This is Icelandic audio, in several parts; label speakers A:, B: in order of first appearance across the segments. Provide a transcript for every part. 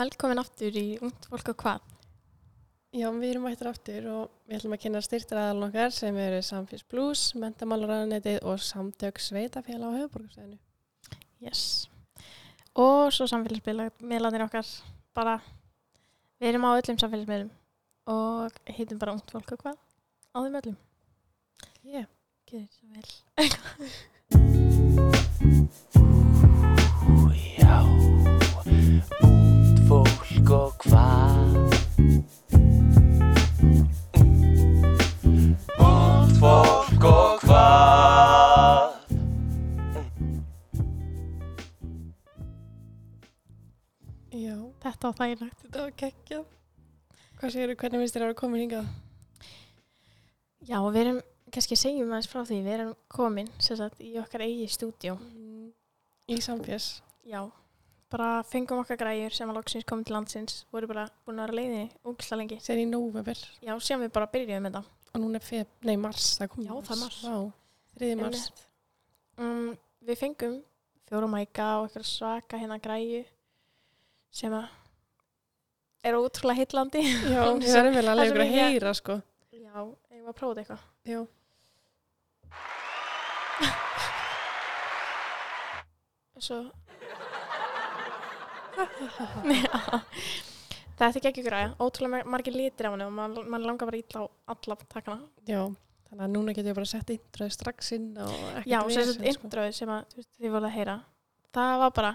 A: Velkomin aftur í Ungt fólk og hvað.
B: Já, við erum mættir aftur og við ætlum að kynna styrtaraðalun okkar sem eru Samféls Plus, Mentamálaranetið og Samtök Sveitafélag á höfuborgarsæðinu.
A: Yes. Og svo samfélagsmiðlanir okkar bara, við erum á öllum samfélagsmiðlum og heitum bara Ungt fólk og hvað á þeim öllum.
B: Yeah.
A: Gjörðu svo vel.
C: Já, ungt fólk og hvað? Ungt fólk og hvað?
B: Já,
A: Þetta var þægilegt.
B: þetta var geggjað. Hvað segir þú, hvernig finnst þér að vera komin hingað?
A: Já, við erum, kannski segjum aðeins frá því, við erum komin sem sagt í okkar eigi stúdíó.
B: Í Samféls.
A: Já, bara fengum okkar græjur sem að loksins komum til landsins, voru bara búin að vera á leiðinni úksla lengi.
B: Sér í november
A: Já, síðan við bara byrjuðum með það.
B: og núna er feb, nei mars, það kom
A: Já, það er mars.
B: Vá, þriði mars.
A: Um, við fengum fjóra mæka og eitthvað svaka hérna græju sem að er ótrúlega heitlandi.
B: Já,
A: Án þess
B: það er vel
A: það
B: að
A: sem
B: leikur að
A: ég-
B: heyra, sko.
A: Já, eigum við að prófa þetta eitthvað.
B: Já.
A: Svo... Já. Þetta er ekki græja, ótrúlega mar- margir litir af henni og mann man langar bara ítla á alla takkana.
B: Já, þannig að núna getur við bara að setja introið strax inn og ekkert
A: Já, sem
B: vesen, sko.
A: sagt introið sem að þú veist, þið voruð að heyra það var bara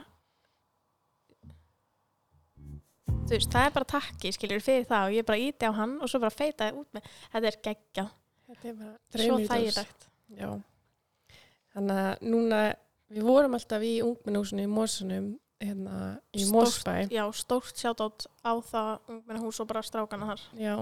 A: þú veist, það er bara takki skilur fyrir það og ég bara íti á hann og svo bara feita út með, þetta er geggja
B: Þetta er bara
A: svo
B: draumur í dós.
A: þægilegt
B: Já. Þannig að núna, við vorum alltaf í ungmennhúsinu í Mósunum, hérna í
A: Stórt.
B: Mósbæ.
A: Já, stórt sjátt á það ungmenna hús og bara strákana þar
B: Já,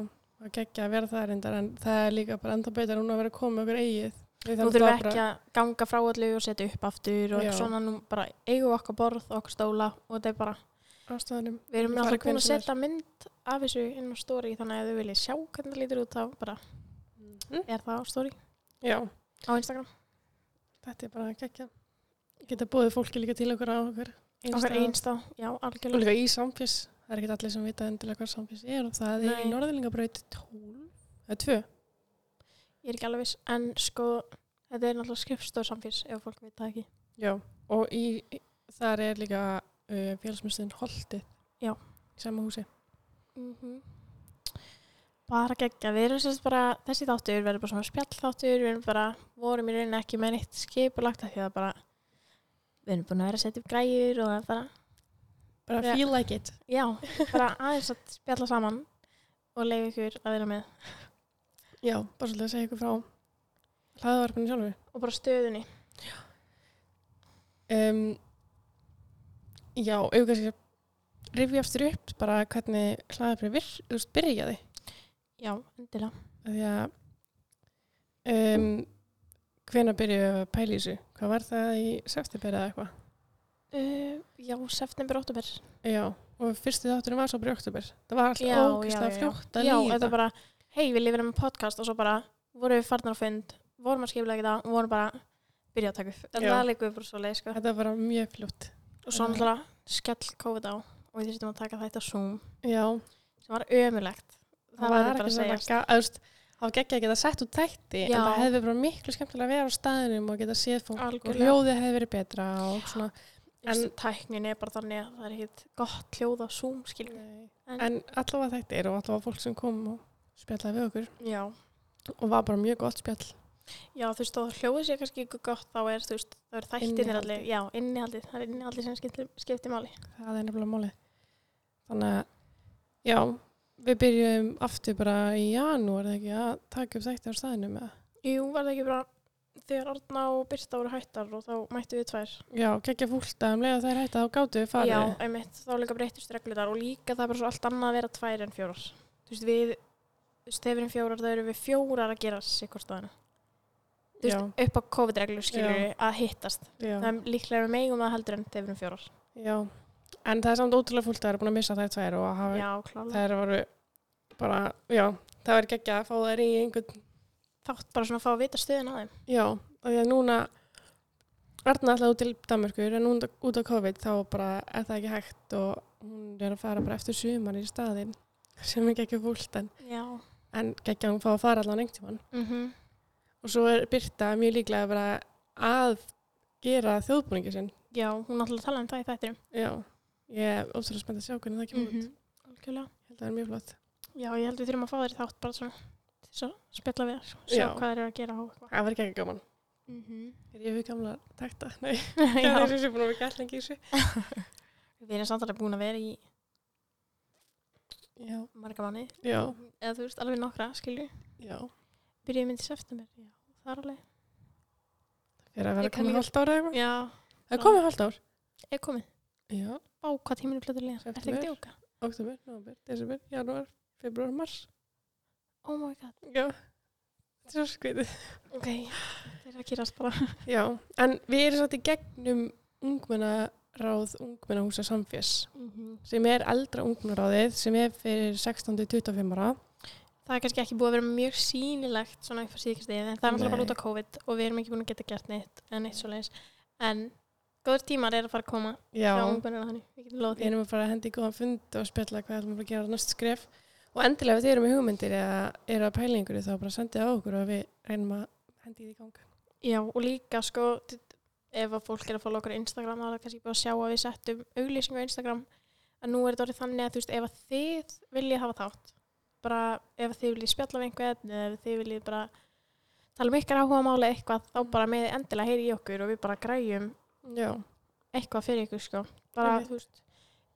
B: það geggja að vera það reyndar, en það er líka bara enda betur núna að vera að koma með okkur eigið. Við
A: Nú
B: þarfum
A: þurfum
B: það
A: við ekki að ganga frá allu og setja upp aftur og
B: Já.
A: eitthvað svona nú bara eigum við okkar borð og okkar stóla og þetta er bara
B: bara ástæðanum.
A: Við erum
B: Bara
A: náttúrulega búin
B: hvenær
A: að
B: sem er.
A: setja mynd af þessu inn á story þannig að ef þau viljið sjá hvernig það lítur út þá bara
B: Mm.
A: er það á story
B: Já,
A: á Instagram
B: þetta er bara geggja. Geta búið fólki líka til okkur á okkur.
A: okkar
B: einstæða.
A: einstá, já,
B: Og
A: algjörlega
B: líka í samfjöss. Það er ekki allir sem vita endilega hvað samfjöss er og það er í
A: Nei.
B: Norðlingabraut 12, eða 2.
A: ég er ekki alveg viss, en sko þetta er náttúrulega skrifstóð samféls ef fólk veit það ekki
B: Já, og í, þar er líka uh, félagsmyndstöðin Holtið.
A: Já.
B: Í sama húsi.
A: bara geggja, við erum sérst bara þessi þáttur, við erum bara svona spjall þáttur við erum bara, vorum í rauninni ekki með neitt skipulagt af því að bara við erum búin að vera að setja upp græjur og það er bara,
B: Bara
A: Já.
B: feel like it.
A: já, bara aðeins að spjalla saman og leiði ykkur að vera með
B: Já, bara svolítið að segja ykkur frá hlaðavarpinu sjálfu.
A: og bara stöðunni
B: Um, já, auðvitað kannski að rifja aftur upp bara hvernig hlaðavarpinu vir, þú veist, byrjaði.
A: já, endilega
B: Af Því að um, hvena byrjuði að pæla í þessu? Hvað var það í september eða eitthvað?
A: uh, já, september, oktober
B: Já, og fyrsti þátturinn var svo bara í oktober. Það var
A: Já,
B: alltaf ógæslega
A: já, já, já.
B: fljótt að
A: Já,
B: líða.
A: þetta bara, hei, við lifum með podcast og svo bara vorum við farnar á fund, vorum að skipla ekki það og vorum bara að byrja að taka upp. Þannig
B: Já.
A: að það leikum við bara svo leið, sko.
B: Þetta var bara mjög fljótt.
A: Og svo náttúrulega skell COVID á og við þurftum að taka þetta á Zoom
B: Já,
A: sem var ömulegt. Það var bara að segja.
B: Það var ekki að gegja að geta sett út tætti en
A: Já.
B: það hefði verið bara miklu skemmtilega að vera á staðinum og geta séð fólk og
A: Algjörlega.
B: hljóðið hefði verið betra og svona
A: En
B: en-
A: tæknin er bara þannig að það er hitt gott hljóð á Zoom, skiljum. En-
B: en, allavega þættir og allavega fólk sem kom og spjallaði við okkur
A: Já.
B: og var bara mjög gott spjall
A: Já, þú veist, þó hljóðið sé kannski ykkur gott, þá er, þú veist, það er þættinir
B: Innihaldið.
A: allir. Já, innihaldið. Það er innihaldið sem skiptir, skiptir máli.
B: það er nefnilega málið þannig að já, við byrjum aftur bara í janúar eða ekki að taka upp þætti á staðinum eða
A: Jú, var það ekki bara þegar Arna og Birta voru hættar og þá mættu við tvær.
B: já, geggja fólk að um leiða þær hætti þá gátu við farið
A: Já, einmitt, þá líka breytist reglunar og líka það er bara svo allt annað að vera tvær en fjórar. Þú veist, við, þú veist, þegar við erum fjórar, þá erum við fjórar að gera sikkur staðina. Þú
B: já,
A: veist, upp á COVID-reglur skilur
B: Já.
A: við að hittast.
B: já.
A: Það er líklega með eigum að heldur en þegar við erum fjórar.
B: já, en það er samt ótrúlega fólk að vera búin að missa þær tvær og að hafa
A: Já, klálega.
B: þær voru bara, já, það var geggja að fá þær í einhvern,
A: Þátt bara svona að fá að vita stöðin að þeim.
B: já, og því að núna Arna alltaf út til Danmörkur en hún út á COVID þá bara er það ekki hægt og hún er að fara bara eftir sumar í staðinn sem er ekki fúlt en,
A: Já.
B: en ekki að hún fá að fara allan einhvern tímann
A: Mm
B: og svo er Birta mjög líklega bara að gera þjóðbúningi sinn
A: Já, hún náttúrulega talaði um það í þættinum.
B: já, ég er ótrúlega spennt að sjá hvernig það kemur út
A: Algjörlega.
B: ég held að það er mjög flott
A: Já, ég held við þurfum að fá þér í þátt bara svona til þess að spjalla við þér, sjá
B: Já.
A: hvað þeir eru að gera og eitthvað.
B: það verður ekki gaman
A: Mm
B: er ég fyrir gamla takta? nei, það er
A: Já,
B: þessi búin um að vera gæt lengi í þessu
A: við erum samt alveg búin að vera í
B: já,
A: marga manni,
B: já,
A: eða þú veist, alveg nokkra, skilju.
B: já
A: Byrjuðum myndi september, já, það er alveg.
B: er að
A: Ég
B: vera
A: kann
B: komið
A: ekki-
B: hálft ára eitthvað
A: Já,
B: það er komið hálft ár
A: er komið.
B: já,
A: Á, hvað tíminu flöður legar? Er það
B: September.
A: ekki djóka?
B: oktober, november, desember, janúar, februar, mars
A: Oh my god.
B: Já, þetta er svo skvitið.
A: Ok, það er að kýrast bara.
B: Já, en við erum satt í gegnum ungmennaráð ungmennahúsa samfés sem er eldra ungmennaráðið sem er fyrir 16-25 ára.
A: Það er kannski ekki búið að vera mjög sýnilegt svona upp á síðkastegið, en það er náttúrulega bara
B: Nei.
A: út á COVID og við erum ekki búin að geta gert neitt en neitt svo En góður tímar er að fara að koma
B: Já,
A: frá ungbunna þannig, við getum loðið
B: við erum að fara að henda í góðan fund og spjalla hvað ætlum við að gera næst skref og endilega ef þið eru með hugmyndir eða eru að pæla í einhverju þá bara sendið á okkur og við reynum að henda í því ganga.
A: því. Já, og líka sko, t- ef að fólk er að fóla okkur á Instagram, þá er það kannski bara að sjá að við settum auglýsingu á Instagram, en nú er þetta orðið þannig að þú veist, ef að þið viljið hafa þátt, bara ef að þið viljið spjalla við einhvern, eða ef þið viljið bara tala um ykkar áhuga máli eitthvað,
B: Mm.
A: þá bara með endilega heyri í okkur og við bara græjum
B: Já,
A: eitthvað fyrir ykkur sko bara,
B: Einmitt.
A: þú veist,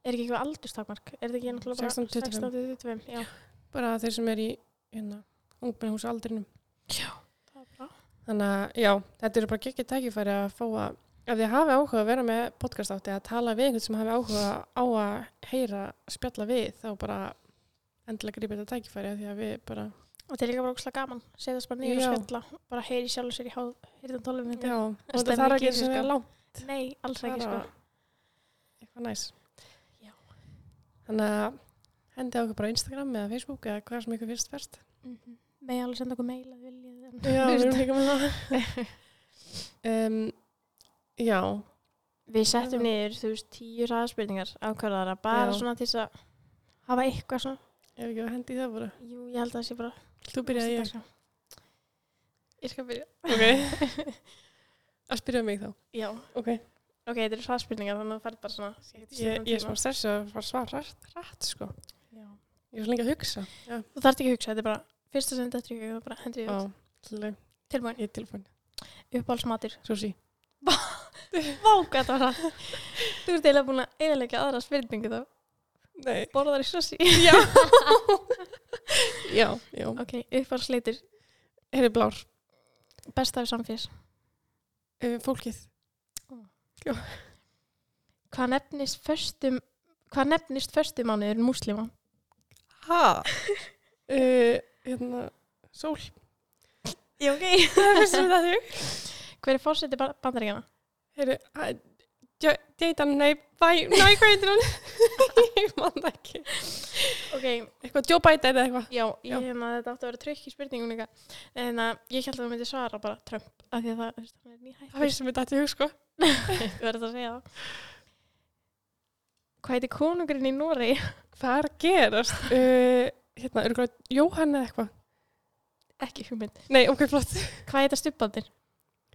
A: er ekki eitthvað aldurstakmark er þetta ekki náttúrulega bara
B: 16 til 25?
A: 25 já,
B: bara þeir sem er í hérna, ungmennahúsa aldrinum.
A: það er bra
B: Þannig að já, þetta eru bara gekkið tækifæri að fá að, ef þið hafi áhuga að vera með podcast átti að tala við einhvern sem hafi áhuga á að heyra spjalla við þá bara endilega grípa þetta tækifæri af því að við bara,
A: og þetta er líka bara ógslag gaman, setjast bara niður
B: Já.
A: og skella bara heyri sjálfur sér í hýrðan tólum
B: já,
A: myndi
B: og
A: En
B: þetta
A: stemning
B: þarf
A: í
B: ekki
A: þessu,
B: sem
A: sko.
B: er langt,
A: nei, alls ekki sko
B: bara eitthvað næs.
A: Já.
B: Þannig að hendi á okkur bara á Instagram eða Facebook eða hvað sem ykkur finnst verst.
A: Mhm. megi alveg senda okkur mail að viljið en-
B: Já,
A: Þú
B: við
A: veist,
B: erum líka með það. um, já,
A: við settum
B: Já.
A: niður, þú veist, tíu ræðaspurningar ákvarðara, bara
B: Já.
A: svona til þess að hafa eitthvað svona,
B: ef ekki að hendi í það bara.
A: jú, ég held að það sé bara
B: Þú byrjaði ég.
A: ég ég skal byrja
B: Ok. Að spyrja mig þá.
A: já,
B: Ok.
A: ok, þetta eru ræðaspurningar þannig að það fær bara svona um
B: Ég, ég er smá stressið að fara að svara rætt, rætt sko.
A: Já.
B: Ég er svo lengi að hugsa.
A: Þú þarft ekki að hugsa, þetta er bara fyrsta sem þetta er ekki, bara hendur ég
B: Já,
A: út.
B: alveg.
A: Tilbúin,
B: Ég er tilfæn.
A: uppáhaldsmatur.
B: Sushi.
A: Vá, hvað það var það? Þú ert eiginlega búin að eiginlega aðra spurningu þá.
B: Nei.
A: Borðar í sossi.
B: Já. já, já.
A: ok, uppáhaldsleitur.
B: Herri blár.
A: Besta af samfés.
B: Uh, fólkið.
A: Hvað nefnist föstum, hvað nefnist föstumánuður múslima?
B: Ha? Uh, hérna, sól.
A: Já, ok.
B: Það er fyrst sem um það þau.
A: Hver er fórseti bandaríkjana?
B: Herri, deitan, nei, bæ, nei, hvað heitir hún? ég man það ekki.
A: Ok,
B: Eitthvað, Joe Biden eða eitthvað.
A: já, ég
B: Já.
A: hérna þetta átti að vera trygg í spurningun líka. En að ég held að þú myndi svara bara Trump, af því að það, þú veist, hann er
B: Það
A: nýhættur.
B: fyrst sem þetta þau, sko.
A: Þú verður að segja það. Hvað heitir konungurinn í Noregi?
B: Hvað er að gerast? Uh, hérna, örgulega, Jóhann eða eitthvað.
A: Ekki hugmynd.
B: Nei, ok, flott.
A: Hvað heita stubbandir?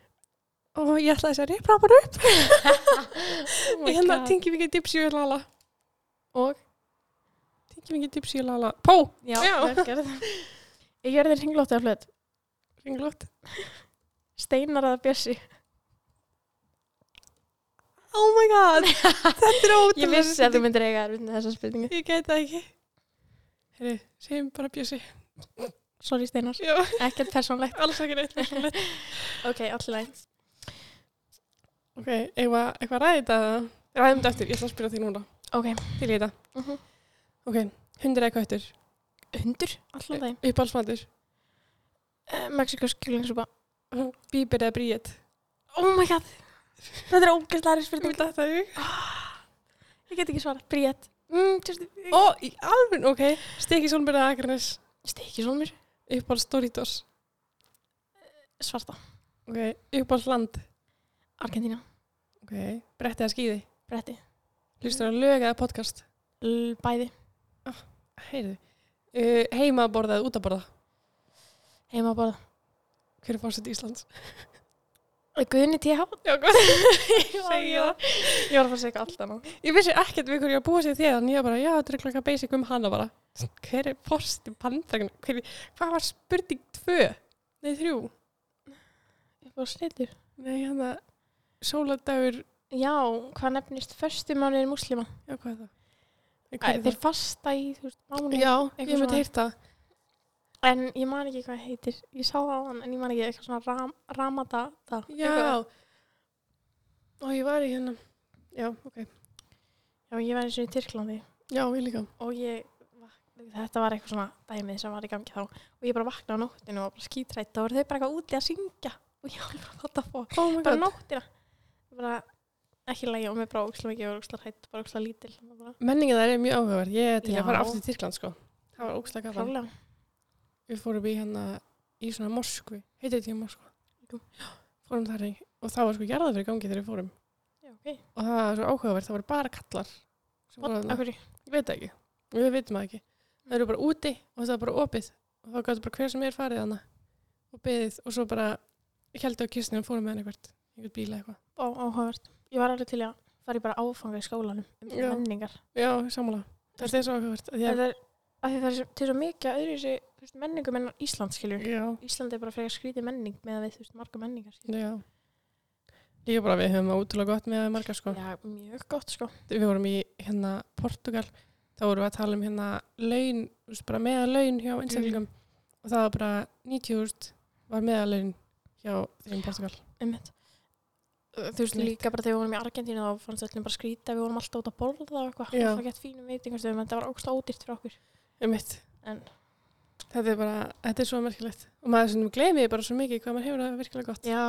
B: og ég ætla þess að ripra bara upp
A: Oh
B: ég hérna tingi mikið dipsi og lala
A: Og?
B: tingi mikið dipsi og lala pó,
A: Já,
B: Já.
A: velgerð. Ég gjör þér hringlóttu af hlut.
B: ringlót
A: Steinar að bjössi.
B: oh my god, þetta er ótrúlega
A: Ég vissi að þú myndir eiga erfitt með þessa spurningu.
B: ég gæti það ekki herri, segjum bara bjössi
A: Sorry Steinar,
B: já,
A: ekkert persónlegt.
B: alls ekki neitt persónulegt.
A: Ok, allir læg.
B: ok, eitthvað eitthva ræði þetta eða? ræðum þetta eftir, ég ætla að spyrja þig núna
A: Ok.
B: til í þetta,
A: Mhm.
B: ok, hundur eða köttur
A: Hundur, allan þeim.
B: uppálsmatur,
A: Uh, Mexikos kjúlingsúpa.
B: bíber eða bríet
A: Oh my god, þetta er ógæstlæri spurning.
B: þetta er
A: Ég get ekki svarað. Bríett. Mm, just, oh.
B: ó, í alveg, ok, steki solmur eða akranes
A: Stekki svona mér.
B: uppáls Doritos
A: Svarta.
B: ok, uppáls land
A: Argentína,
B: Ok, brettið að skýði.
A: bretti,
B: Hlustur á lög eða podcast?
A: L- bæði,
B: Heyrðu. Uh, heima að borða eða út að borða?
A: heima að borða.
B: Hver er fórsett Íslands?
A: Guðni TH,
B: Já, hvað?
A: segi
B: Segja það.
A: ég var að fara að segja eitthvað allt annað.
B: Ég vissi ekkert við hverju ég var að búa sér því að ég var bara, já, þetta er klaka basic um hana bara. Hver er fórsett í bandrækina? Hver, hvað var spurning tvö? Nei, þrjú.
A: Ég fór slitur.
B: Nei, hann að sóladagur,
A: Já, hvað nefnist förstu mánuðin múslima?
B: já, hvað er það? Nei,
A: Æ,
B: hver er
A: Þeir fasta í, þú veist, mánuðin.
B: Já,
A: eitthvað
B: ég myndi
A: svona.
B: heyrt það.
A: En ég man ekki hvað heitir, ég sá það á hann, en ég man ekki eitthvað svona ram, ramada það.
B: Já. Og ég var í hérna. Já, ok.
A: Já, ég var eins og í Tyrklandi
B: Já, ég líka.
A: og ég, vak- þetta var eitthvað svona dæmið sem var í gangi þá og ég bara vaknaði á nóttinu og var bara skítrætt og voru þau bara eitthvað úti að syngja og ég var bara þetta fó.
B: Oh my
A: Bara
B: god.
A: nóttina. Bara ekki lægi og mér bara óksla mikið og óksla hætt, bara óksla lítil. og Bara.
B: Menningin það er mjög áhugaverð. Ég er til
A: Já.
B: að fara aftur til Tyrkland, sko. Það var ógslag gaman.
A: Klálega.
B: Við fórum í hérna í svona moskvi. Heitir þetta ekki moskva?
A: Jú.
B: Já, Fórum þar í. Og það var sko gerðað fyrir gangi þegar við fórum.
A: Já, ok.
B: Og það var svo áhugaverð. Það var bara kallar. sem voru
A: Hvað,
B: þarna.
A: af hverju?
B: Ég veit það ekki. Við veitum það ekki. Það eru bara úti og það er bara opið. Og það gæti bara hver sem er farið hana. Og beðið. Og svo bara heldur á kistinu og fórum með hann eitthvað. Einhvern bíla eitthvað.
A: Ó, áhugavert. Ég var alveg til í að fara í bara áfanga í skólanum um
B: Já.
A: menningar.
B: Já, sammála. Það er svo áhugavert. að ég-
A: Það er, af því það er svo- til svo mikið að öðru þessi menningum en Ísland, skilur.
B: Já.
A: Ísland er bara frekar skrítið menning með að við þú veist marga menningar. skilur.
B: Já. Líka bara við höfum það útrúlega gott með það marga sko.
A: Já, mjög gott sko.
B: Við vorum í hérna Portugal, þá vorum við að tala um hérna laun, þú veist, bara meðalaun hjá einstaklingum og það var bara 90.000 var meðalaun hjá þeim í Portugal.
A: Einmitt. Þú veist
B: Einmitt.
A: líka bara þegar við vorum í Argentínu þá fannst öllum bara skrítið, við vorum alltaf út að borða og eitthvað,
B: Já.
A: alltaf gett fínum veitingastöðum en það var ógst ódýrt fyrir okkur.
B: Um mitt.
A: En
B: Þetta er bara, þetta er svo merkilegt og maður sem gleymi bara svo mikið hvað maður hefur það virkilega gott.
A: já,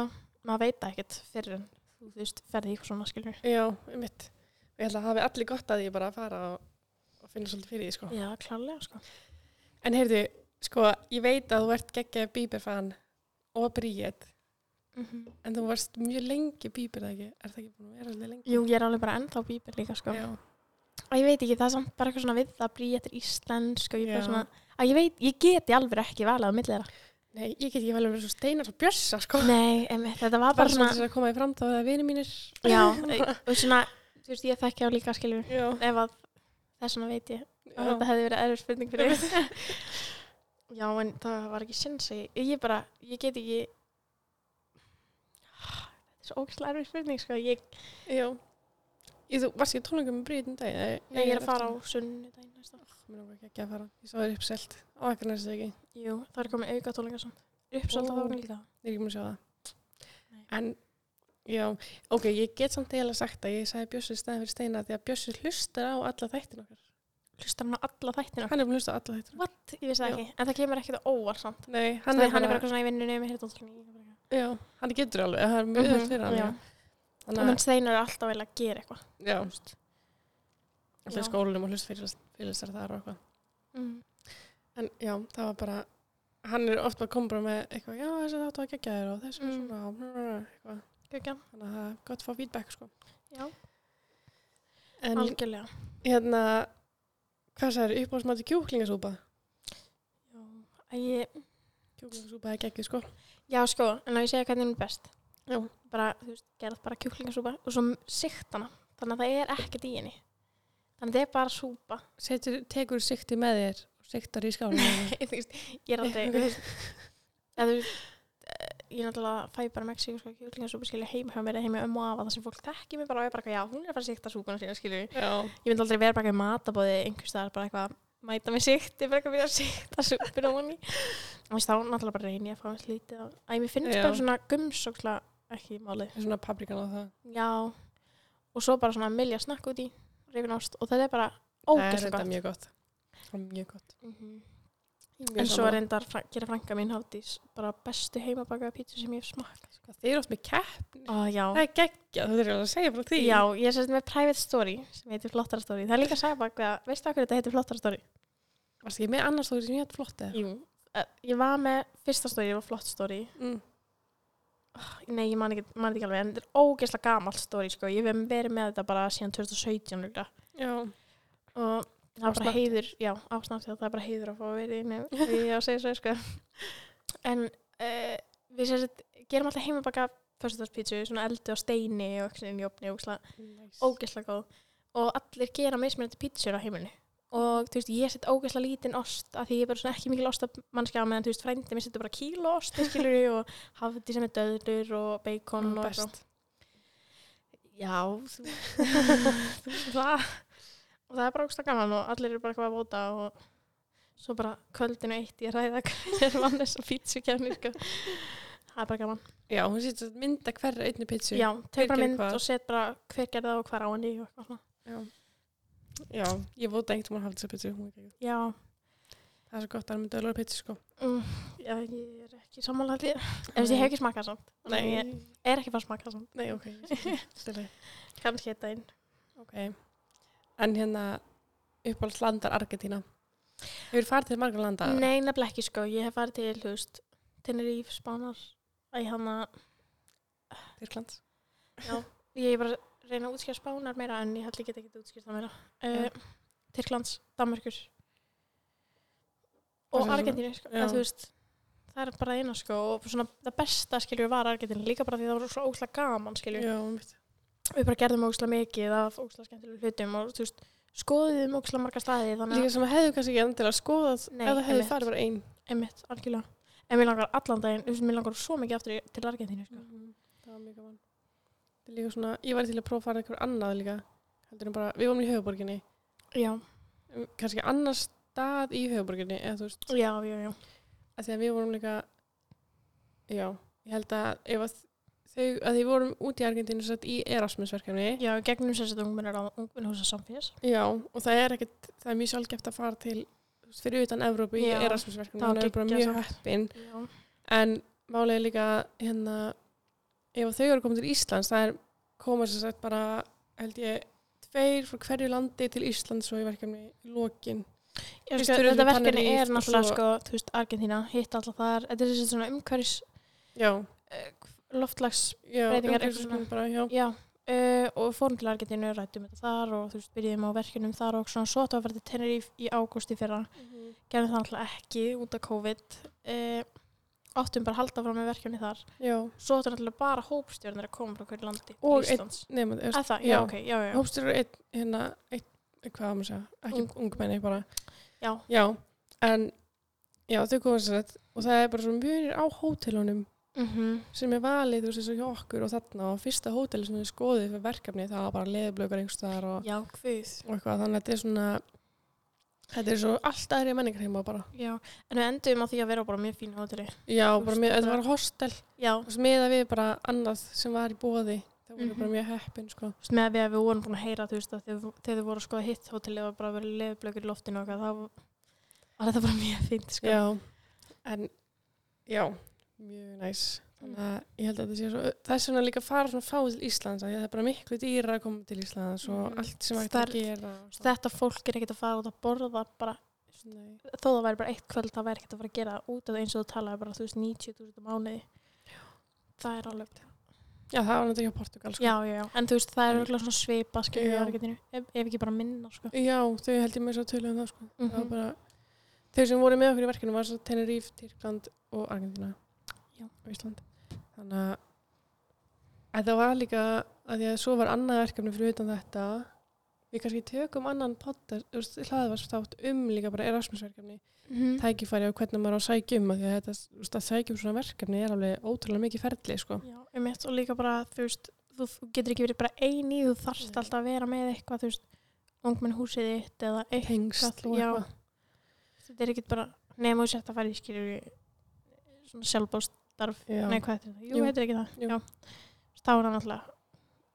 A: maður veit það ekkert fyrir en þú veist ferði í eitthvað svona skilur.
B: Já, um mitt. Ég held að hafi allir gott að ég bara að fara og, og finna svolítið fyrir því sko.
A: Já, klálega sko.
B: En heyrðu, sko, ég veit að þú ert geggjaði bíberfan og bríið
A: Mm
B: En þú varst mjög lengi bíbir það ekki? Er það ekki búin að vera alveg lengi?
A: Jú, ég er alveg bara ennþá bíbel líka sko.
B: Já.
A: Og ég veit ekki, það er samt bara eitthvað svona við það bríðið er íslensk og ég bara
B: Já.
A: svona, að ég veit, ég geti alveg ekki valið á milli þeirra.
B: Nei, ég get ekki vel að vera svo steinar og bjössa, sko.
A: Nei, einmitt, þetta var
B: bara
A: bara
B: svona
A: svona
B: til þess að koma í fram þá það er vinir mínir.
A: Já, og svona, þú veist, ég þekki á líka skiljum
B: Já.
A: ef að þess vegna veit ég að þetta
B: Já.
A: hefði verið erfið spurning fyrir þig. Já, en það var ekki sinns að ég, ég bara, ég get ekki þetta er svo ógæslega erfið spurning sko, ég,
B: Já. Ég, þú varst ekki á tónleikum með bríðin dag? Nei,
A: ég, er að fara á sunnudaginn næsta.
B: Mér langar ekki að fara. Ég sá þér uppselt. Á ekki næstu ekki.
A: Jú, það er komið auka tólinga samt. Uppsalt
B: Ó.
A: að þána líka.
B: Ég er ekki múin að sjá það.
A: Nei.
B: En, já, ok, ég get samt eiginlega sagt að ég sagði Bjössu í staðin fyrir Steina því að Bjössi hlustar á alla þættin okkar.
A: Hlustar hann á alla þættina?
B: Hann er búin að hlusta á alla þættin okkar.
A: What? Ég vissi það
B: Já.
A: ekki. En það kemur ekkert á óvart samt.
B: Nei,
A: Hann er, hann er bara
B: bara,
A: eitthvað svona í vinnunni með hirtóttunni.
B: já, hann getur alveg, það er mjög auðvelt fyrir hann.
A: Mhm, Já.
B: já. Þannig
A: Og
B: að-
A: menn Steinar er alltaf vel að gera eitthvað.
B: Já,
A: þú veist.
B: alltaf í
A: Já.
B: skólanum og hlust fyrir, fyrir þessar þar og eitthvað. Mm-hmm.
A: Mm.
B: En já, það var bara, hann er oft bara komið bara með eitthvað, já þessi þáttu að gegja þér og þessi mm.
A: Mm.
B: svona, og brr, brr, eitthvað.
A: Gekkja.
B: Þannig að það er gott að fá feedback, sko.
A: Já,
B: En
A: algjörlega.
B: hérna, hvað sagður, uppáhaldsmæti kjúklingasúpa?
A: Já. Æ, Ég,
B: Kjúklingasúpa er geggið, sko.
A: já, sko, en að ég segja hvernig hún er best.
B: Já.
A: Bara, þú veist, gerð bara kjúklingasúpa og svo sikt hana. Þannig að það er ekkert í henni. Þannig að það er bara súpa.
B: Setur, tekur sikti með þér og siktar í skálinu.
A: þú veist, ég er aldrei, þú veist, eða þú veist, eh, ég náttúrulega fæ bara Mexíku, sko, kjúklingasúpa skilja heima hjá mér eða heima hjá ömmu og afa þar sem fólk þekki mig bara og ég bara, eitthvað, já, hún er að fara að sikta súpuna sína, skilju.
B: já.
A: Ég myndi aldrei vera bara eitthvað í matabóði einhvers staðar bara eitthvað mæta með sikti, bara eitthvað við að sikta súpur á manni. Og þá náttúrulega bara reyni ég að fá hans lítið. á- Æ, mér finnst
B: Já.
A: bara svona gumsóksla ekki málið.
B: Svona paprikan á það.
A: Já, og svo bara svona milja snakk út í reyfin ást og þetta er bara
B: það er
A: ógæslega
B: þetta
A: gott.
B: mjög gott. Það er Mjög gott.
A: Mhm.
B: Mjög
A: En svo
B: sammála.
A: reyndar fran- gera frænka mín hátis bara bestu heimabakaða pítsu sem ég hef smakkað.
B: Þið eru oft með keppni.
A: Ó, já.
B: sko. Það er geggjað, þú þurfir að segja frá því.
A: Já, ég er sérst með private story sem heitir flottara story. Það er líka sæbaka, veistu okkur þetta heitir flottara story?
B: Varst ekki með annars þú sem ég hætti flott eða?
A: Jú, eh, ég var með fyrsta stóri, ég var flott stóri
B: Mm.
A: Nei, ég man ekki, man ekki alveg, en þetta er ógeðslega gamalt stóri, sko. Ég hef verið með þetta bara síðan 2017 líka.
B: Já,
A: Og það er bara
B: Ásnæmt.
A: heiður, já, ásnátt, það er bara heiður að fá að vera inni við að segja svo, sko. En uh, við sem sagt, gerum alltaf heimabaka fyrstudagspítsu, svona eldu á steini og okkur inn í opni og ógeðslega
B: nice.
A: ógeðslega góð og allir gera mismunandi pítsur á heimilinu og þú veist, ég set ógeðslega lítinn ost af því ég er bara svona ekki mikil ostamannskja meðan þú veist, frændi mér setur bara kíló ost skilur og hafði sem er döður og bacon
B: Mm,
A: og
B: best.
A: eitthvað. já þú, þú- það og það er bara ógeðslega gaman og allir eru bara eitthvað að vóta og svo bara kvöldinu eitt ég ræða hver er vann þess að pítsu sko. það er bara gaman
B: Já, hún sýtti að mynda hverra einni pítsu.
A: já,
B: Hver
A: tek bara
B: gerir
A: mynd
B: hvað?
A: og set bara hver gerði það og hvar á henni og eitthvað svona.
B: Já, ég vóta einhvern veginn haldið þessa pítsu. hún er ekki-
A: já,
B: Það er svo gott að hann myndi að lögur pítsu, sko.
A: Mm, já, ég er ekki sammála því. Ef ég hef ekki smakað samt. Þannig að Ég er ekki fara að smakað samt.
B: nei, ok. ég skil. Allt í lagi.
A: Kannski þetta einn.
B: Ok. En hérna, uppáhalds landar Argentína. Hefur farið til margar landa?
A: Nei, nefnilega ekki sko. Ég hef farið til, þú veist, Tenerife, Spánar. Æ, hann að,
B: Tyrkland.
A: ég er bara að reyna að útskýra Spánar meira en ég held ekki að geta útskýrt það meira. Uh, Tyrklands, Danmörkur.
B: Það
A: Og
B: er svona-
A: Argentínu, sko.
B: já.
A: Eða, þú veist, það er bara eina sko. Og svona, það besta, skiljur, var Argentínu. Líka bara því það var svo óslega gaman, skiljur.
B: Já, mitt.
A: við bara gerðum ógslag mikið af ógslag skemmtilegum hlutum og þú veist, skoðum ógslag marga staði þannig
B: Líka sem hefðu kannski ekki endilega skoðað
A: Nei,
B: ef það hefðu
A: einmitt.
B: farið bara einn.
A: að einmitt, algjörlega en mér langar allan daginn, þú veist, mér langar svo mikið aftur í, til Argentínu, sko.
B: Mhm, Það var mjög gaman. Það er líka svona, ég var til að prófa að fara eitthvað annað líka. Heldur en bara, við vorum í höfuborginni.
A: Já,
B: Kannski annar stað í höfuborginni, eða þú veist.
A: já, já, já.
B: að því að við vorum líka já, ég held að ef að þau, að því vorum út í Argentínu satt í Erasmus-verkefni
A: Já, í gegnum sér þetta ungmennar á ungmennhúsa samfélags.
B: já, og það er ekkit, það er mjög sjálfgeft að fara til þú veist, fyrir utan Evrópu í
A: Já.
B: Erasmus-verkefni
A: Það var
B: þannig að við bara
A: geggjað
B: mjög heppin
A: Já.
B: en málið er líka hérna, ef að þau eru komin til Íslands það er koma sér sett bara held ég, tveir frá hverju landi til Íslands og í verkefni í lokin
A: Já,
B: Líka
A: sko,
B: þurfum
A: þetta
B: við
A: verkefni
B: Tenerife
A: er
B: og
A: náttúrulega,
B: svo-
A: sko, þú veist, Argentína, hitt alltaf þar, þetta er þessi svona umhverfis
B: já,
A: loftlags,
B: já,
A: Breytingar, eitthvað
B: umhverfisverkefni bara, já.
A: já, uh, og við fórum til Argentínu, rættum þetta þar og þú veist, byrjum á verkefnum þar og svona, svo þetta var þetta Tenerife í ágústi fyrra gerðum það alltaf ekki út af COVID eh, áttum bara að halda fram með verkefni þar
B: já,
A: svo áttum náttúrulega bara hópstjórnir að koma frá hverju landi
B: Og
A: til Íslands
B: nema, þú veist,
A: eða það, já,
B: já.
A: ok, já, já, já.
B: Hópstjóri er einn, hérna, einn, hvað var maður að segja, ekki
A: Ung-
B: Ung. ungmenni bara.
A: Já.
B: Já, en, já, þau komum sér þetta og það er bara svona mjög á hótelunum
A: Mm
B: sem er valið, þú veist, eins og hjá okkur og þarna og fyrsta hótel sem við skoðið fyrir verkefni það var bara leðublökar einhvers staðar og,
A: já, hvud
B: og eitthvað, þannig að þetta er svona, þetta er svo allt aðri menningar heima bara.
A: já. en við endum á því að vera bara á mjög fín hóteli
B: Já,
A: Þú
B: bara
A: veist,
B: með,
A: bara-
B: þetta var hostel,
A: já,
B: þú veist, með að við bara annað sem var í bóði, það voru
A: Mhm.
B: bara mjög heppin, sko.
A: Þú veist, með að við, að við vorum búin að heyra þú veist, að þegar, þegar þau voru að skoða hitt hóteli og bara verið leðblökur í loftinu og eitthvað, þá var þetta bara mjög fínt sko.
B: Já, en já, mjög næs þannig að ég held að þetta sé svo þess vegna líka fara svona fá til Íslands af því að það er bara miklu dýra að koma til Íslands og
A: Mhm.
B: allt sem hægt
A: Stærð-
B: að gera og svona.
A: þetta fólk er ekkert að fara út að borða bara
B: Nei.
A: þó það væri bara eitt kvöld það væri ekkert að fara að gera það út af það eins og þú talaði bara þú veist 90.000 á mánuði það er alveg
B: Já, það var náttúrulega hjá Portugal sko.
A: já, já, já. en þú veist það er
B: En-
A: alveg svona svipa skilur
B: Já.
A: í Argentínu ef, ef ekki bara minna sko.
B: Já, þau held ég með svo tölu um það sko. það var
A: Mhm.
B: bara, þau sem voru með okkur í verkinu var svo Tenerife, Tyrkland og Argentina
A: Já.
B: og Ísland þannig að- að það var líka að því að svo var annað verkefni fyrir utan þetta við kannski tökum annan potta hlaðvarstátt um líka bara Erasmus-verkefni
A: Mhm.
B: tækifæri og hvernig maður á að sækja um af því að þetta þú veist, að sækja um svona verkefni er alveg ótrúlega mikið ferli sko.
A: já, um og líka bara þú veist þú þú getur ekki verið bara eini þú þarft
B: Nei.
A: alltaf að vera með eitthvað þú veist ungmenn húsið þitt eða eitthvað
B: tengsl og
A: já.
B: eitthvað
A: þetta er ekkert bara nema þú sett að fara í skilur svona sjálfbástarf
B: Já.
A: nei hvað heitir það, jú,
B: Jú.
A: heitir ekki það
B: Jú.
A: já, stáðan alltaf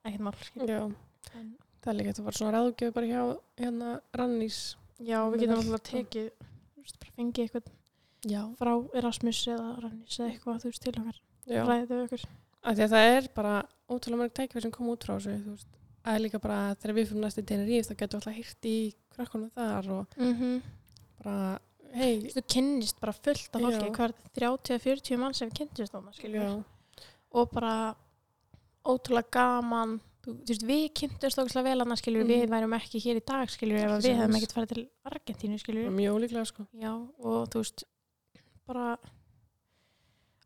A: ekkert mál skilur
B: Já.
A: En-
B: það er líka þetta var svona ráðgjöf bara hjá hérna Rannís
A: Já, við
B: Þannig
A: getum
B: að-
A: alltaf tekið, þú veist, bara fengið eitthvað
B: já,
A: frá Erasmus eða Rannis eða eitthvað, þú veist, til okkar,
B: já.
A: ræðið við okkur.
B: að því að það er bara ótrúlega mörg tækifæri sem koma út frá þessu þú veist, að er líka bara að þegar við fyrir næstu Teneríf þá getum við alltaf hýrt í krakkunum þar og
A: Mm -hmm.
B: bara, hei
A: Þú kynnist bara fullt af fólki,
B: Já.
A: hvað er þetta, 30-40 mann sem kynnist þarna, skiljum við.
B: og
A: og bara ótrúlega gaman þú, þú veist, við kynntumst okkur vel annars skilur
B: Mhm.
A: við værum ekki hér í dag skilur ef að við hefum ekkert farið til Argentínu skilur
B: Mjög ólíklega sko.
A: Já, og þú veist, bara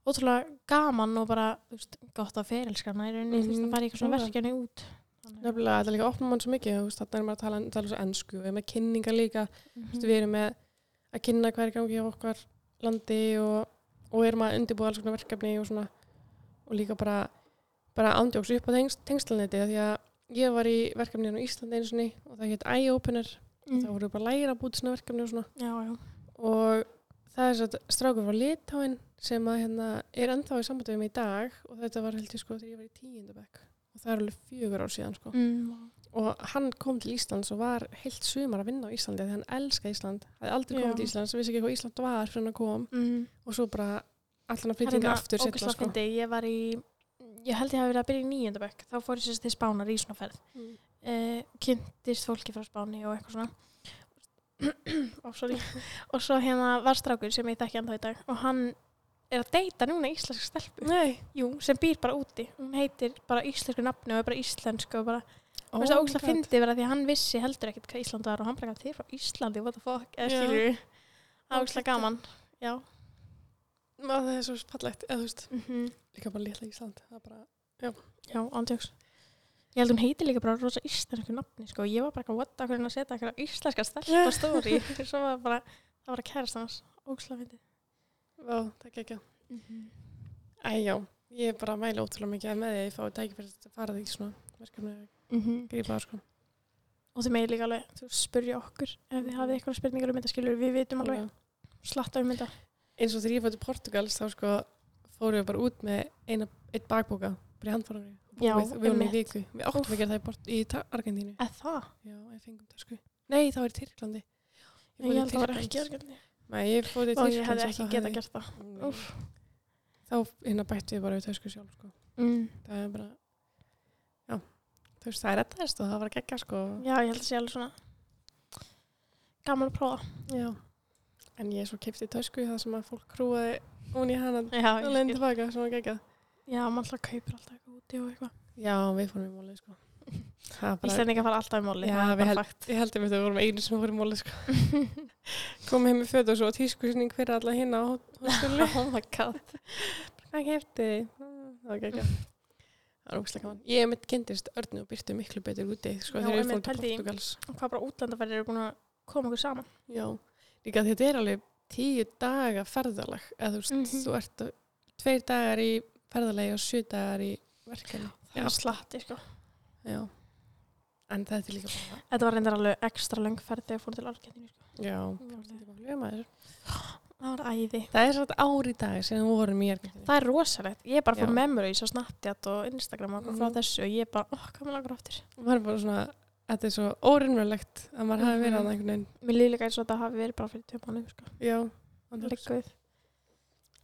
A: ótrúlega gaman og bara, þú veist, gott að ferilskana í rauninni, þú veist,
B: Mhm,
A: að fara í eitthvað svona
B: klálega.
A: verkefni út. Þannig.
B: Nefnilega, þetta er líka opnum mann svo mikið, þú veist, þarna er maður að tala, tala svo ennsku, við erum með kynningar líka,
A: Mhm.
B: mm. við erum með að kynna hver gangi á okkar landi og, og erum að undirbúa alls konar verkefni og svona, og líka bara, bara ándjóks upp á tengst, tengslaneti, því að ég var í verkefni hérna á Íslandi einu sinni og það hétt Eye-Opener,
A: Mm.
B: það voru bara að læra að búti svona verkefni og svona,
A: Já, já.
B: og það er svo strákur frá Litáin sem að hérna er ennþá í sambandi við mig í dag og þetta var heldur sko þegar ég var í tíundabæk og það er alveg fjögur ár síðan sko
A: Mm. vá.
B: og hann kom til Íslands og var heilt sumar að vinna á Íslandi þegar hann elska Ísland hafði aldrei komið
A: Já.
B: til Íslands, vissi ekki hvað Ísland var fyrir hann kom
A: Mm.
B: og svo bara
A: Það
B: allan að
A: er
B: flytja
A: hérna
B: aftur setna
A: ógeðslega
B: sko
A: fyndið. Ég var í, ég held ég hafi verið að byrja í nýjöndabæk, þá fór ég sérst til Spánar í svona ferð.
B: Mm.
A: Eh, kynntist fólki frá Spáni og eitthvað svona. Ó, sorry. og svo hérna var strákur sem ég þekki ennþá í dag og hann er að deyta núna íslensk stelpu.
B: Nei,
A: Jú, sem býr bara úti. Hún heitir bara íslensku nafni og er bara íslensk og bara, oh það er ógst að fyndi vera því að hann vissi heldur ekkert hvað Ísland var og hann bara gæti þér frá Íslandi, what the fuck, eða
B: Já.
A: skilur við. Það er
B: Ógeðslega
A: ógst að gaman, já.
B: maður það er svo fallegt, eða þú veist
A: Mm
B: líka bara litla Ísland, það er bara
A: Já, andjóks. Ég held hún heitir líka bara rosa íslensku nafni, sko. Ég var bara eitthvað, what, akkur hann að setja eitthvað íslenska stelpa stóri. Svo var bara, það var að kærast hans, ógst að fyndi.
B: Vá, það er ekki
A: Mhm.
B: Æjá, ég er bara að mæla ótrúlega mikið með því að ég fái tækifæri til að fara því svona verkefni að grípa það sko
A: Mhm. Og þið megið líka alveg, þú veist, spyrja okkur ef þið hafið eitthvað spurningar um þetta, skilur við, við vitum alveg, slatta um þetta.
B: eins og þegar ég fór til Portugals þá sko fórum við bara út með eina, eitt bakbóka bara í handfórum við
A: Já,
B: við vorum í
A: einmitt.
B: viku við áttum að gera það í, Port í Ta- Argentínu
A: Eða það?
B: já, ég fengum það sko nei, það var í Tyrklandi
A: Ég, ég held það var ekki örgjörni.
B: nei, ég fór í
A: og ég
B: Tyrkland
A: hefði
B: og
A: ekki
B: þá
A: geta
B: hafði-
A: gert það
B: Nei. þá hérna bætti við bara við tösku sjálf sko
A: mm.
B: það er bara já, þú veist það er rettaðist og það var að gegja sko
A: já, ég held að sé alveg svona gaman að prófa
B: já en ég svo kefti tösku það sem að fólk krúaði hún í hana
A: já, ég
B: og leiðin
A: skil.
B: tilbaka sem var gegja
A: já maður alltaf kaupir alltaf eitthvað úti og eitthvað
B: já, við fórum í mólið sko Það var bara-
A: Íslendingar fara alltaf í móli
B: Já,
A: það er
B: við
A: bara
B: held- Ég held að við vorum einu sem voru í móli sko. Komum heim í föt og svo tískusning fyrir alla hinn á hóttunni.
A: fakt. oh my god
B: Hvað kefti þið? Það var ekki ekki. Það var ógæslega gaman. Ég hef mitt kynntist Örnu og Byrtu miklu betur úti sko,
A: Já,
B: þegar við
A: einmitt,
B: fórum til
A: pældi í.
B: Portugals.
A: hvað bara útlandafæri eru búin að koma okkur saman
B: Já, líka þetta er alveg tíu daga ferðalag. Eða, þú, veist,
A: Mhm.
B: þú ert að- tveir dagar í ferðalagi og sjö dagar í verkefni.
A: það er slatti sko
B: Já. En þetta er líka bara...
A: þetta var reyndar alveg ekstra löngferð þegar fórum til Argentínu sko.
B: Já.
A: Ég var alveg-
B: Þetta er bara ljómaður.
A: það var æði
B: Það er svona ár í dag sem við vorum í Argentínu.
A: það er rosalegt ég er bara
B: Já.
A: fór memories á Snapchat og Instagram og eitthvað frá
B: Mhm.
A: þessu og ég er bara, oh, hvað mér langar aftur
B: maður er bara svona, þetta er svo órinnverulegt að maður hafi verið
A: Mhm.
B: að einhvern veginn
A: mér líðlega eins og þetta hafi verið bara fyrir tveim mánuðum sko.
B: já,
A: Liggur við.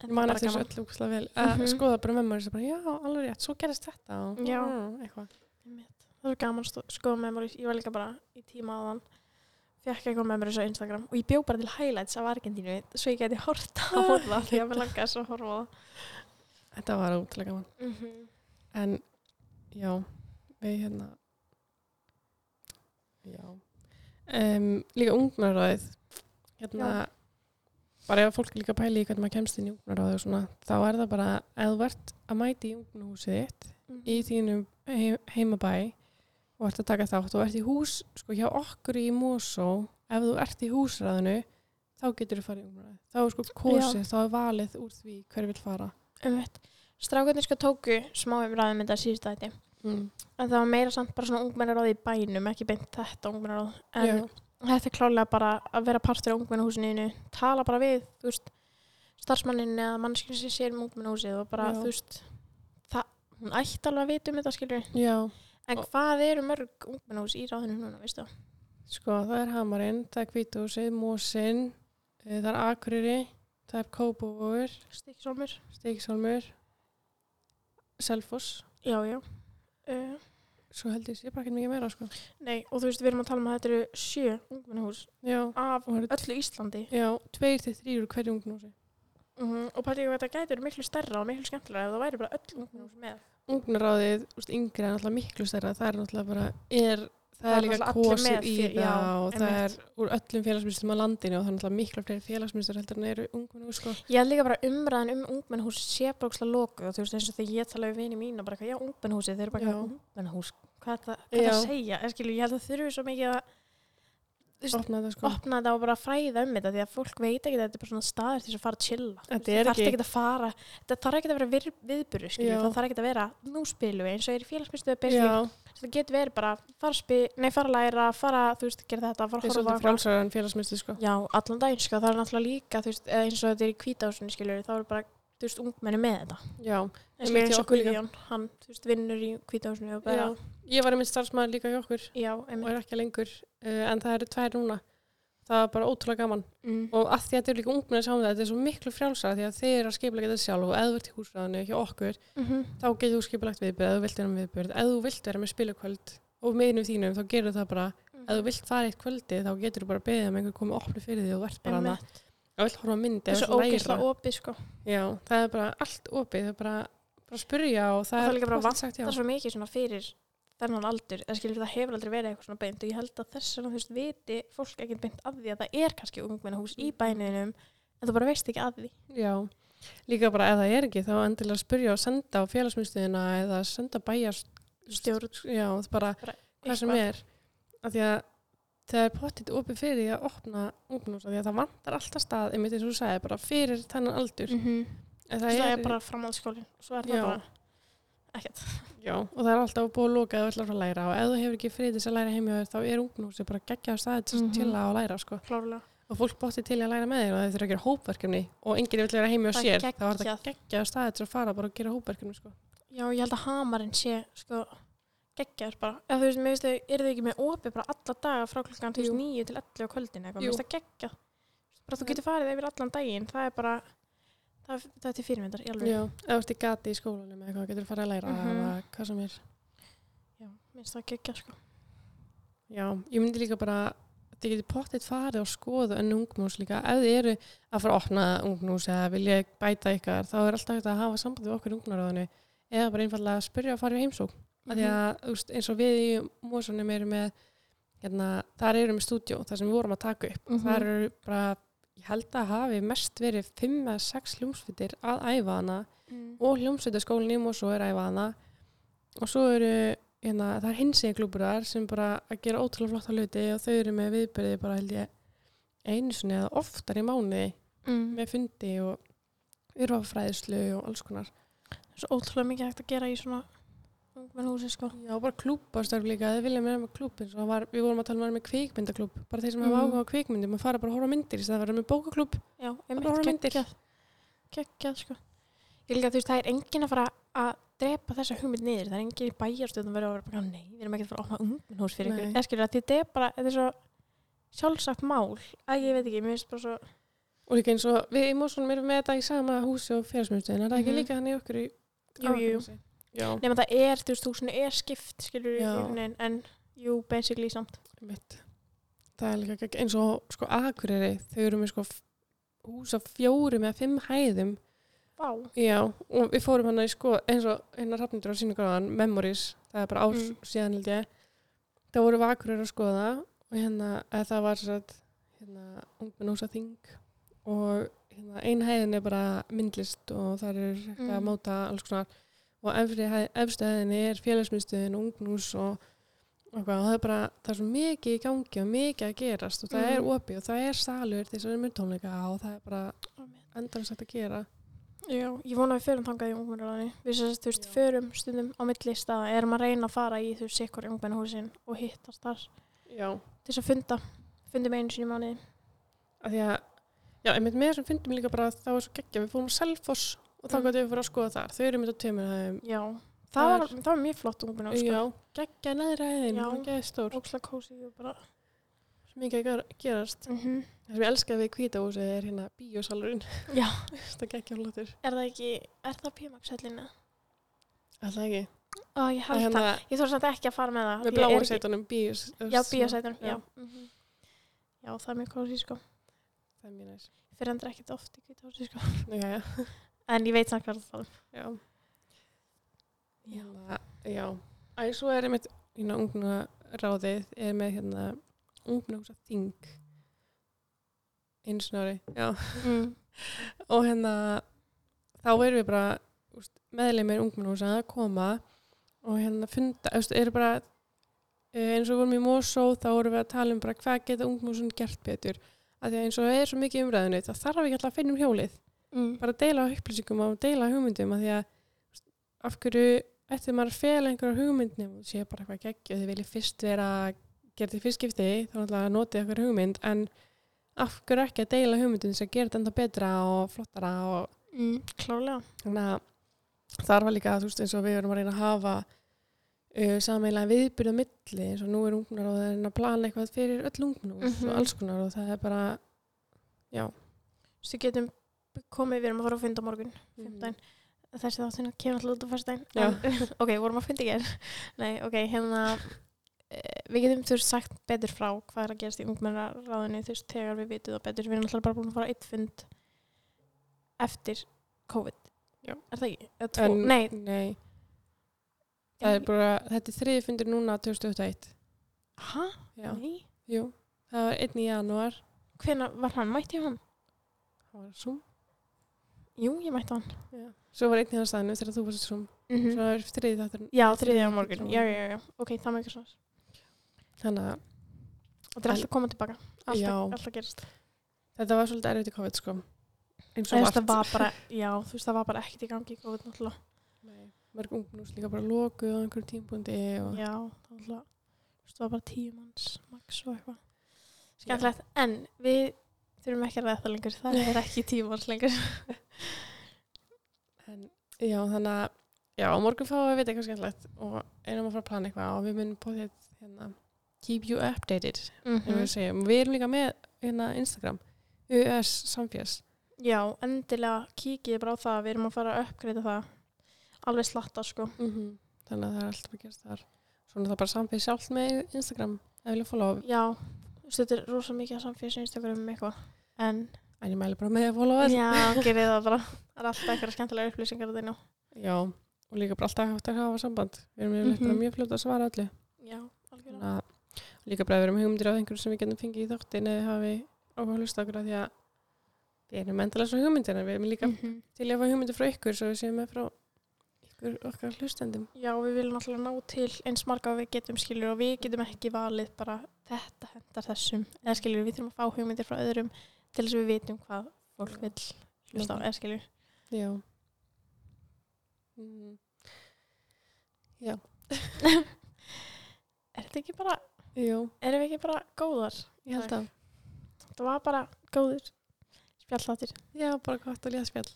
A: En
B: ég man
A: bara
B: eftir þessu
A: gaman.
B: öll úkslega vel að
A: Mhm.
B: skoða bara með maður bara, já, alveg rétt, svo gerist þetta og,
A: Já.
B: mm, eitthvað
A: Einmitt. Það var gaman að skoða memories. Ég var líka bara í tíma áðan. Fekk eitthvað memories á Instagram og ég bjó bara til highlights af Argentínu svo ég geti horta á það því að mér langaði svo að horfa á það.
B: þetta var útrúlega gaman
A: Mm
B: en, já, við hérna já um, líka ungnaráðið hérna
A: Já.
B: bara ef fólk er líka pæli í hvernig maður kemst inn í ungnaráðið og svona, þá er það bara ef þú ert að mæti í ungnahúsið þitt í þínum heim, heimabæ og ert að taka þátt og ert í hús sko hjá okkur í Mosó ef þú ert í húsræðinu þá getur þú farið í umræði þá er sko kosið, þá er valið úr því hver vil fara
A: Strákarnir sko tóku smá umræðum þetta síðust að þetta.
B: mm.
A: En það var meira samt bara svona ungmennaráð í bænum, ekki beint þetta ungmennaráð. En
B: já,
A: þetta er klálega bara að vera partur á ungmennahúsinu, tala bara við, þú veist, starfsmannin eða mannskinn sem sér um ungmennahúsið og bara,
B: Já.
A: þú veist, það, hún ætti alveg að vita um þetta, skilur
B: já,
A: En
B: Og-
A: hvað eru mörg ungmennahús í ráðinu núna, veistu?
B: sko það er hamarinn það er kvíthúsið, Mosin eh, það er Akureyri, það er Kópavóður
A: Stikkisólmur?
B: Steikshólmur Selfoss
A: Já, já. Uh,
B: svo held ég sé bara ekki mikið meira sko
A: nei, og þú veist, við erum að tala um að þetta eru sjö ungmennahús
B: já,
A: af
B: og það eru
A: öllu Íslandi.
B: já, tveir til þrýr úr hverju ungnúsi
A: Mhm, og pæli ég að þetta gæti verið miklu stærra og miklu skemmtilega ef það væri bara öll ungmenn með
B: Ungnaráðið, úst, yngri er náttúrulega miklu stærra, það er náttúrulega bara, er, það,
A: Það er
B: er líka
A: náttúrulega allir
B: kosið
A: með
B: í
A: fyrir-
B: það
A: já,
B: og það er úr öllum félagsmyndstum á landinu og það er náttúrulega miklu fleiri félagsmyndstur heldur en eru ungmennu, sko.
A: Ég held líka bara umræðan um ungmennhús sé brókslega lokuð og þú veist eins og þegar ég tala við vini mína bara eitthvað, já ungmennhúsi, þeir eru bara
B: Já.
A: eitthvað ungmennhús, hvað er það, hvað er það að
B: Já.
A: segja? Er, skilu, ég held að þurfi svo mikið að Þú veist,
B: Opna þetta, sko.
A: opna þetta og bara fræða um þetta því að fólk veit ekki að þetta er bara svona staður til þess að fara að chilla.
B: Þetta
A: Þú veist,
B: er
A: þarft
B: ekki-
A: ekki að fara, þetta þarf ekki að vera vir, viðburu, skilu,
B: Já.
A: það þarf ekki að vera nú spilum við eins og er í félagsmyndstöðu
B: Já,
A: basically. Það getur verið bara fara að spi, nei fara að læra, fara, þú veist, gera þetta,
B: það
A: fara að
B: er
A: horfa
B: svolítið frálsarðan félagsmyndstur, sko.
A: Já, allan daginn, sko, það er náttúrulega líka, þú veist, eða eins og þetta er í kvításunni, skiljur, þá eru bara, þú veist, ungmenni með þetta.
B: Já,
A: En
B: Einmitt,
A: eins
B: hjá
A: og
B: okkur líka.
A: Guðjón, hann, þú veist, vinnur í kvításunni og bara,
B: ég var einmitt starfsmæður líka hjá okkur
A: já,
B: og
A: einmitt.
B: er ekki lengur, uh, en það eru tvær núna. Það var bara ótrúlega gaman.
A: Mm.
B: og að því að þetta eru líka ungmenn sem þetta er svo miklu frjálsara því að þeir eru að skipulega þetta sjálf og eða þú ert í húsræðinu hjá okkur
A: Mm
B: þá getur þú skipulagt viðbyrð, eða þú vilt vera með viðbyrð eða þú vilt vera með spilakvöld og meðinum þínum þá gerur það bara,
A: Mm.
B: eða þú vilt fara eitt kvöldi þá getur þú bara beðið um einhver komið opnu fyrir því og þú ert bara hana,
A: Einmitt.
B: og vilt horfa á myndi
A: Það er
B: eða
A: svo
B: vilt læra.
A: ógeðslega opið, sko.
B: Já, það er bara allt opið, það er bara, bara spyrja og það,
A: Og það er líka bara
B: pottþétt sagt já.
A: Það er svo mikið svona fyrir þennan aldur, eða skiljur, það hefur aldrei verið eitthvað svona beint og ég held að þess vegna, þú veist, viti fólk ekki beint að því að það er kannski ungmennahús
B: Mm.
A: í bæninum, en þú bara veist ekki að því.
B: Já, líka bara ef það er ekki þá endilega spyrja og senda á félagsmyndstöðina eða senda bæjast
A: Stjórn.
B: Já, það er bara
A: Bara
B: hvað sem
A: eitthvað.
B: er af því að það er pottitt opið fyrir því að opna ungmennar því að það vantar alltaf stað einmitt eins og þú sagði bara fyrir þennan aldur
A: Mm -hmm.
B: en
A: Það er bara framhaldsskólinn, svo er það
B: Já.
A: bara ekkert.
B: já, og það er alltaf búið að loka eða ætlar að fara að læra og ef þú hefur ekki frið til þess að læra heim hjá þér þá er ungmennar bara geggjaður staðið til
A: Mhm.
B: mm -hmm. að læra sko.
A: Klárlega.
B: og fólk bótti til í að læra með þér og þeir þurfa að gera hópverkefni og enginn vill vera heim hjá
A: Það er
B: sér þá er það geggjaður staðið til að fara bara og gera hópverkefni sko.
A: Já, ég held að hamarinn sé sko, geggjar bara. Eða þú veist, mér finnst þau, eru þau ekki með opið bara alla daga frá klukkan
B: Jú.
A: 9 til 11 á kvöldin eitthvað,
B: Jú.
A: mér finnst það geggjað. Bara þú
B: Já.
A: getur farið yfir allan daginn, það er bara, það, er- það er til fyrirmyndar, ég alveg.
B: Já, eða þú ert í gati í skólanum eða hvað getur farið að læra
A: Mhm.
B: eða hvað sem er.
A: Já, mér finnst það geggjað sko.
B: Já, ég myndi líka bara þið getur pottitt farið og skoða önnu ungmús líka. Ef þið eru að fara að opna ungmús eða vilja bæta ykkar þá er alltaf hægt að hafa samband við okkur ungnaráðinu eða bara einfallega að spyrja að fara í heimsók. Mm -hmm. að,
A: Mhm.
B: þú veist, eins og við í Mósunum erum með hérna, þar erum við stúdjó, þar sem við vorum að taka upp
A: Mhm.
B: þar eru bara, ég held að hafi mest verið 5-6 hljómsveitir að æfa hana
A: Mhm.
B: og hljómsveitaskólinn í Mosó er æfa hana og svo eru hérna, það er hinsegin klubur þar sem bara að gera ótrúlega flotta hluti og þau eru með viðbyrði bara held ég einu sinni eða oftar í mánuði
A: Mm.
B: með fundi og yrfafræðislu og alls konar
A: Það er svo ótrúlega mikið hægt að gera í svona ungmennhúsi sko.
B: Já, bara klúbastörf líka, þau vilja meira með klúb eins og var, við vorum að tala um að vera með kvikmyndaklúb bara þeir sem hafa
A: Mhm.
B: áhuga á kvikmyndum að fara bara að horfa á myndir í stað að vera með bókaklúb
A: Já,
B: Bara horfa á
A: einmitt
B: myndir.
A: geggjað. Geggjað sko. Ég líka, þú veist, það er enginn að fara að drepa þessa hugmynd niður. Það er enginn í bæjarstjóðum verið að vera bara, nei, við erum ekki að fara að opna ungmennhús fyrir ykkur.
B: Nei.
A: Eða skilur að þetta er bara, þetta er svo sjálfsagt mál. Æ, ég veit ekki, mér finnst bara svo,
B: og líka eins og við í Mosónum erum með þetta í sama húsi og félagsmyndstöðin, er það ekki
A: Mhm.
B: líka þannig í okkur í
A: jú, jú, jú.
B: Akranesi? Já.
A: Nefnum það er, þú veist, þú svona er skipt, skilur
B: Já.
A: við, en jú, basically samt.
B: Mitt. Það er líka gegg- eins og sko akureyri, þau eru með sko f- hús á fjórum eða fimm hæðum.
A: Vá.
B: Já, og við fórum hana í sko, eins og hérna rafnindur á síningarðan, Memories, það er bara árs
A: Mm.
B: síðan held ég. Það voru við akureyri að skoða og hérna, eða það var svo að hérna, ungmennúsa þing og hérna, ein hæðin er bara myndlist og það er hægt að
A: Mm.
B: móta alls konar og efri, hæð- efstu hæðin er félagsmyndstöðin, ungnús og og hvað, og það er bara, það er svo mikið í gangi og mikið að gerast og það
A: Mhm.
B: er opið og það er salur til þess að vera myndtónleika og það er bara endanast hægt að gera
A: Já, ég vona að við förum þangað í ungmennurlæðinni. Við sem sagt, þú veist,
B: Já.
A: förum stundum á milli staða, erum að reyna að fara í þú veist, sikkur ungmennahúsin og hittast þar
B: Já,
A: til þess að funda. Fundum einu sinni í mánuði.
B: af því að já, einmitt með þessum fundum líka bara að það var svo geggja, við fórum á Selfoss og þá
A: Mm.
B: gætum við fyrir að skoða þar, þau eru mynd á tveimur hæðum
A: Já, það
B: Það
A: var, það var mjög flott ungmennar, sko.
B: Já, geggja neðri hæðin,
A: Já.
B: það geggja stór
A: Ókslega kósi og bara...
B: svo mikið að gera- gerast
A: Mhm.
B: Það sem ég elska við kvítahúsið er hérna bíósalurinn
A: Já.
B: Það geggja flottur
A: Er það ekki, er það P-Max-hellina?
B: Alltaf ekki
A: Ó, ég
B: Það
A: held
B: hérna
A: það. Ég þarf samt ekki að fara með það.
B: með
A: því ég er
B: bláa
A: ekki-
B: sætunum bíós
A: Já, bíósætunum,
B: Já.
A: já. Já. já, það er mjög kósi, sko.
B: það er mjög næs.
A: fyrir endur ekkert oft í kvíthósi sko.
B: Já, já.
A: en ég veit samt hvað það
B: já.
A: Já.
B: Hérna, já. Æ, svo er einmitt, hérna, ungna ráðið er með, hérna, ungna húsa þing. Einu sinni á ári, já.
A: mm.
B: Og hérna, þá erum við bara, úst, meðleimir ungna húsa að koma og hérna funda, þú veist, eru bara, eh, eins og við vorum í Mosó, þá vorum við að tala um bara hvað geta ungna húsin gert betur. Af því að eins og það er svo mikið umræðinu, það þarf ekki alltaf að finna um hjólið.
A: Mm.
B: bara deila upplýsingum og deila hugmyndum af því að þú veist, af hverju ætti maður að fela einhverja hugmyndnum og sé bara eitthvað geggju þið viljið fyrst vera gera því fyrst skipti þá náttúrulega að notið eitthvað hugmynd en af hverju ekki að deila hugmyndum sem gera þetta enda betra og flottara og
A: Mm. klárlega
B: þannig að það var líka þú veist eins og við erum að reyna að hafa uh, sameiginlega viðbyrða milli eins og nú er ungnar og það er að reyna að plana eitthvað fyrir öll ungnar
A: Mhm.
B: og alls konar og það er bara
A: þú getum komið, við erum að fara að funda á morgun fimmtudaginn. þessi þáttina kemur alltaf út á fyrstæn ok, vorum að funda í ger nei, ok, hérna eh, við getum þú veist sagt betur frá hvað er að gerast í ungmennaráðinu þú veist, þegar við vitum það betur við erum alltaf bara búin að fara á eitt fund eftir COVID
B: Já.
A: er það ekki? Eða tvo?
B: mm. En-
A: nei,
B: nei Það er bara, þetta er þriði fundur núna 2021.
A: hæ?
B: Já.
A: nei
B: Jú, það var einn í janúar.
A: hvenær var hann? Mætti ég hann?
B: Það var Zoom.
A: Jú, ég mætti hann
B: Já. Svo var einn í hann staðinu þegar þú varst Zoom.
A: mm
B: Svo það var þriði þáttur.
A: já, þriðið á morgun, já, já, já ok, það með ekki svo
B: Þannig að
A: og þetta er alltaf að koma tilbaka
B: Já.
A: alltaf, alltaf gerast
B: þetta var svolítið erfitt í COVID, sko. Eins
A: Þú
B: og
A: veist, það
B: allt.
A: var bara, já, þú veist, það var bara ekkert í gangi í COVID náttúrulega.
B: Nei, Mörg ungnús líka bara lokuð á einhverjum tímpundi og
A: Já, það var náttúrulega, þú veist, það var bara tíu manns, max og eitthvað. Skemmtilegt, en við þurfum ekki að ræða það lengur, það er ekki tíu manns lengur.
B: En, já, þannig að já, á morgun fáum við að vita eitthvað skemmtilegt og erum að fara að plana eitthvað og við munum bóðið hérna, keep you updated
A: Mm
B: mm. við, segjum. við erum líka með hérna, Instagram US Samfjars
A: Já, endilega kíkið bara á það, við erum að fara að uppgreita það, alveg slatta, sko.
B: þannig að það er alltaf að gerast þar svona það er bara Samfjars sjálft með Instagram ef vilja follow,
A: Já, þú veist, þetta er rosa mikið að samfélsa Instagram um eitthvað, en
B: en ég mæli bara með að follow all.
A: já, gerið það bara, það er alltaf eitthvað skemmtilega upplýsingar að þeirna.
B: já, og líka bara alltaf hægt að hafa samband við erum mm
A: Mhm.
B: bara mjög fljóta að svara öllu
A: Já, algjörlega.
B: Þannig að líka bara að við erum hugmyndir á einhverju sem við getum fengið í þóttin eða hafi áhuga að hlusta okkur að því að við erum endalega svo hugmyndir en við erum líka
A: Mhm.
B: til í að fá hugmyndir frá ykkur svo við séum með frá ykkur okkar hlustendum
A: Já, við viljum alltaf ná til eins marga og við getum skilur og við getum ekki valið bara þetta hendar þessum eða skilur við þurfum að fá hugmyndir frá öðrum til þess að við vitum hvað fólk vil hlusta á eða skilur
B: já mm.
A: Er þetta ekki bara,
B: jú,
A: erum við ekki bara góðar?
B: ég held að
A: Það var bara góður spjalláttir
B: já, bara gott að léða spjall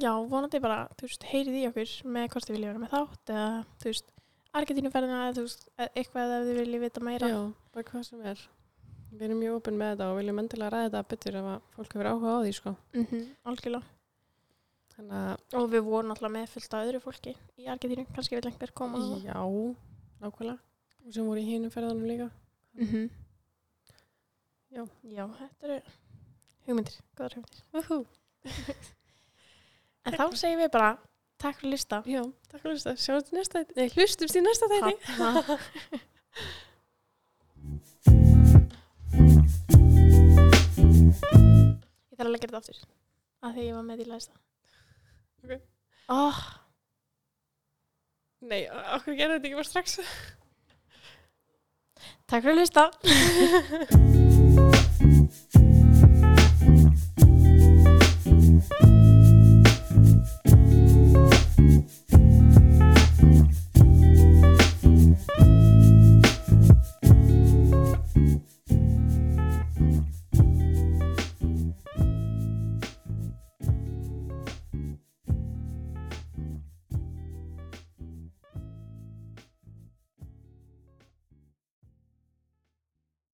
A: Já, vonandi bara, þú veist, heyrið í okkur með hvort þið viljið vera með þátt eða, þú veist, Argentínuferðina eða, þú veist, e-, eitthvað eða þið viljið vita meira
B: já, bara hvað sem er við erum mjög opinn með þetta og viljum endilega ræða þetta betur ef að fólk hefur áhuga á því sko
A: Mhm, Algjörlega
B: þannig að
A: Og við vorum alltaf með fullt af öðru fólki í Argentínu, kannski vil einhver koma á það.
B: já, nákvæmlega og sem voru í hinum ferðanum líka
A: -hmm.
B: Já.
A: Já, þetta eru hugmyndir, góðar hugmyndir.
B: Woohoo.
A: En þá segjum við bara, takk fyrir að lista.
B: Já, takk fyrir að hlusta. Sjáumst í næsta þætti. Nei, hlustumst í næsta þætti.
A: Ha- ha. Ég þarf að leggja þetta aftur, af því að ég var með í læsta.
B: Ok.
A: Oh,
B: Nei, okkur gerði þetta ekki bara strax.
A: takk fyrir að lista.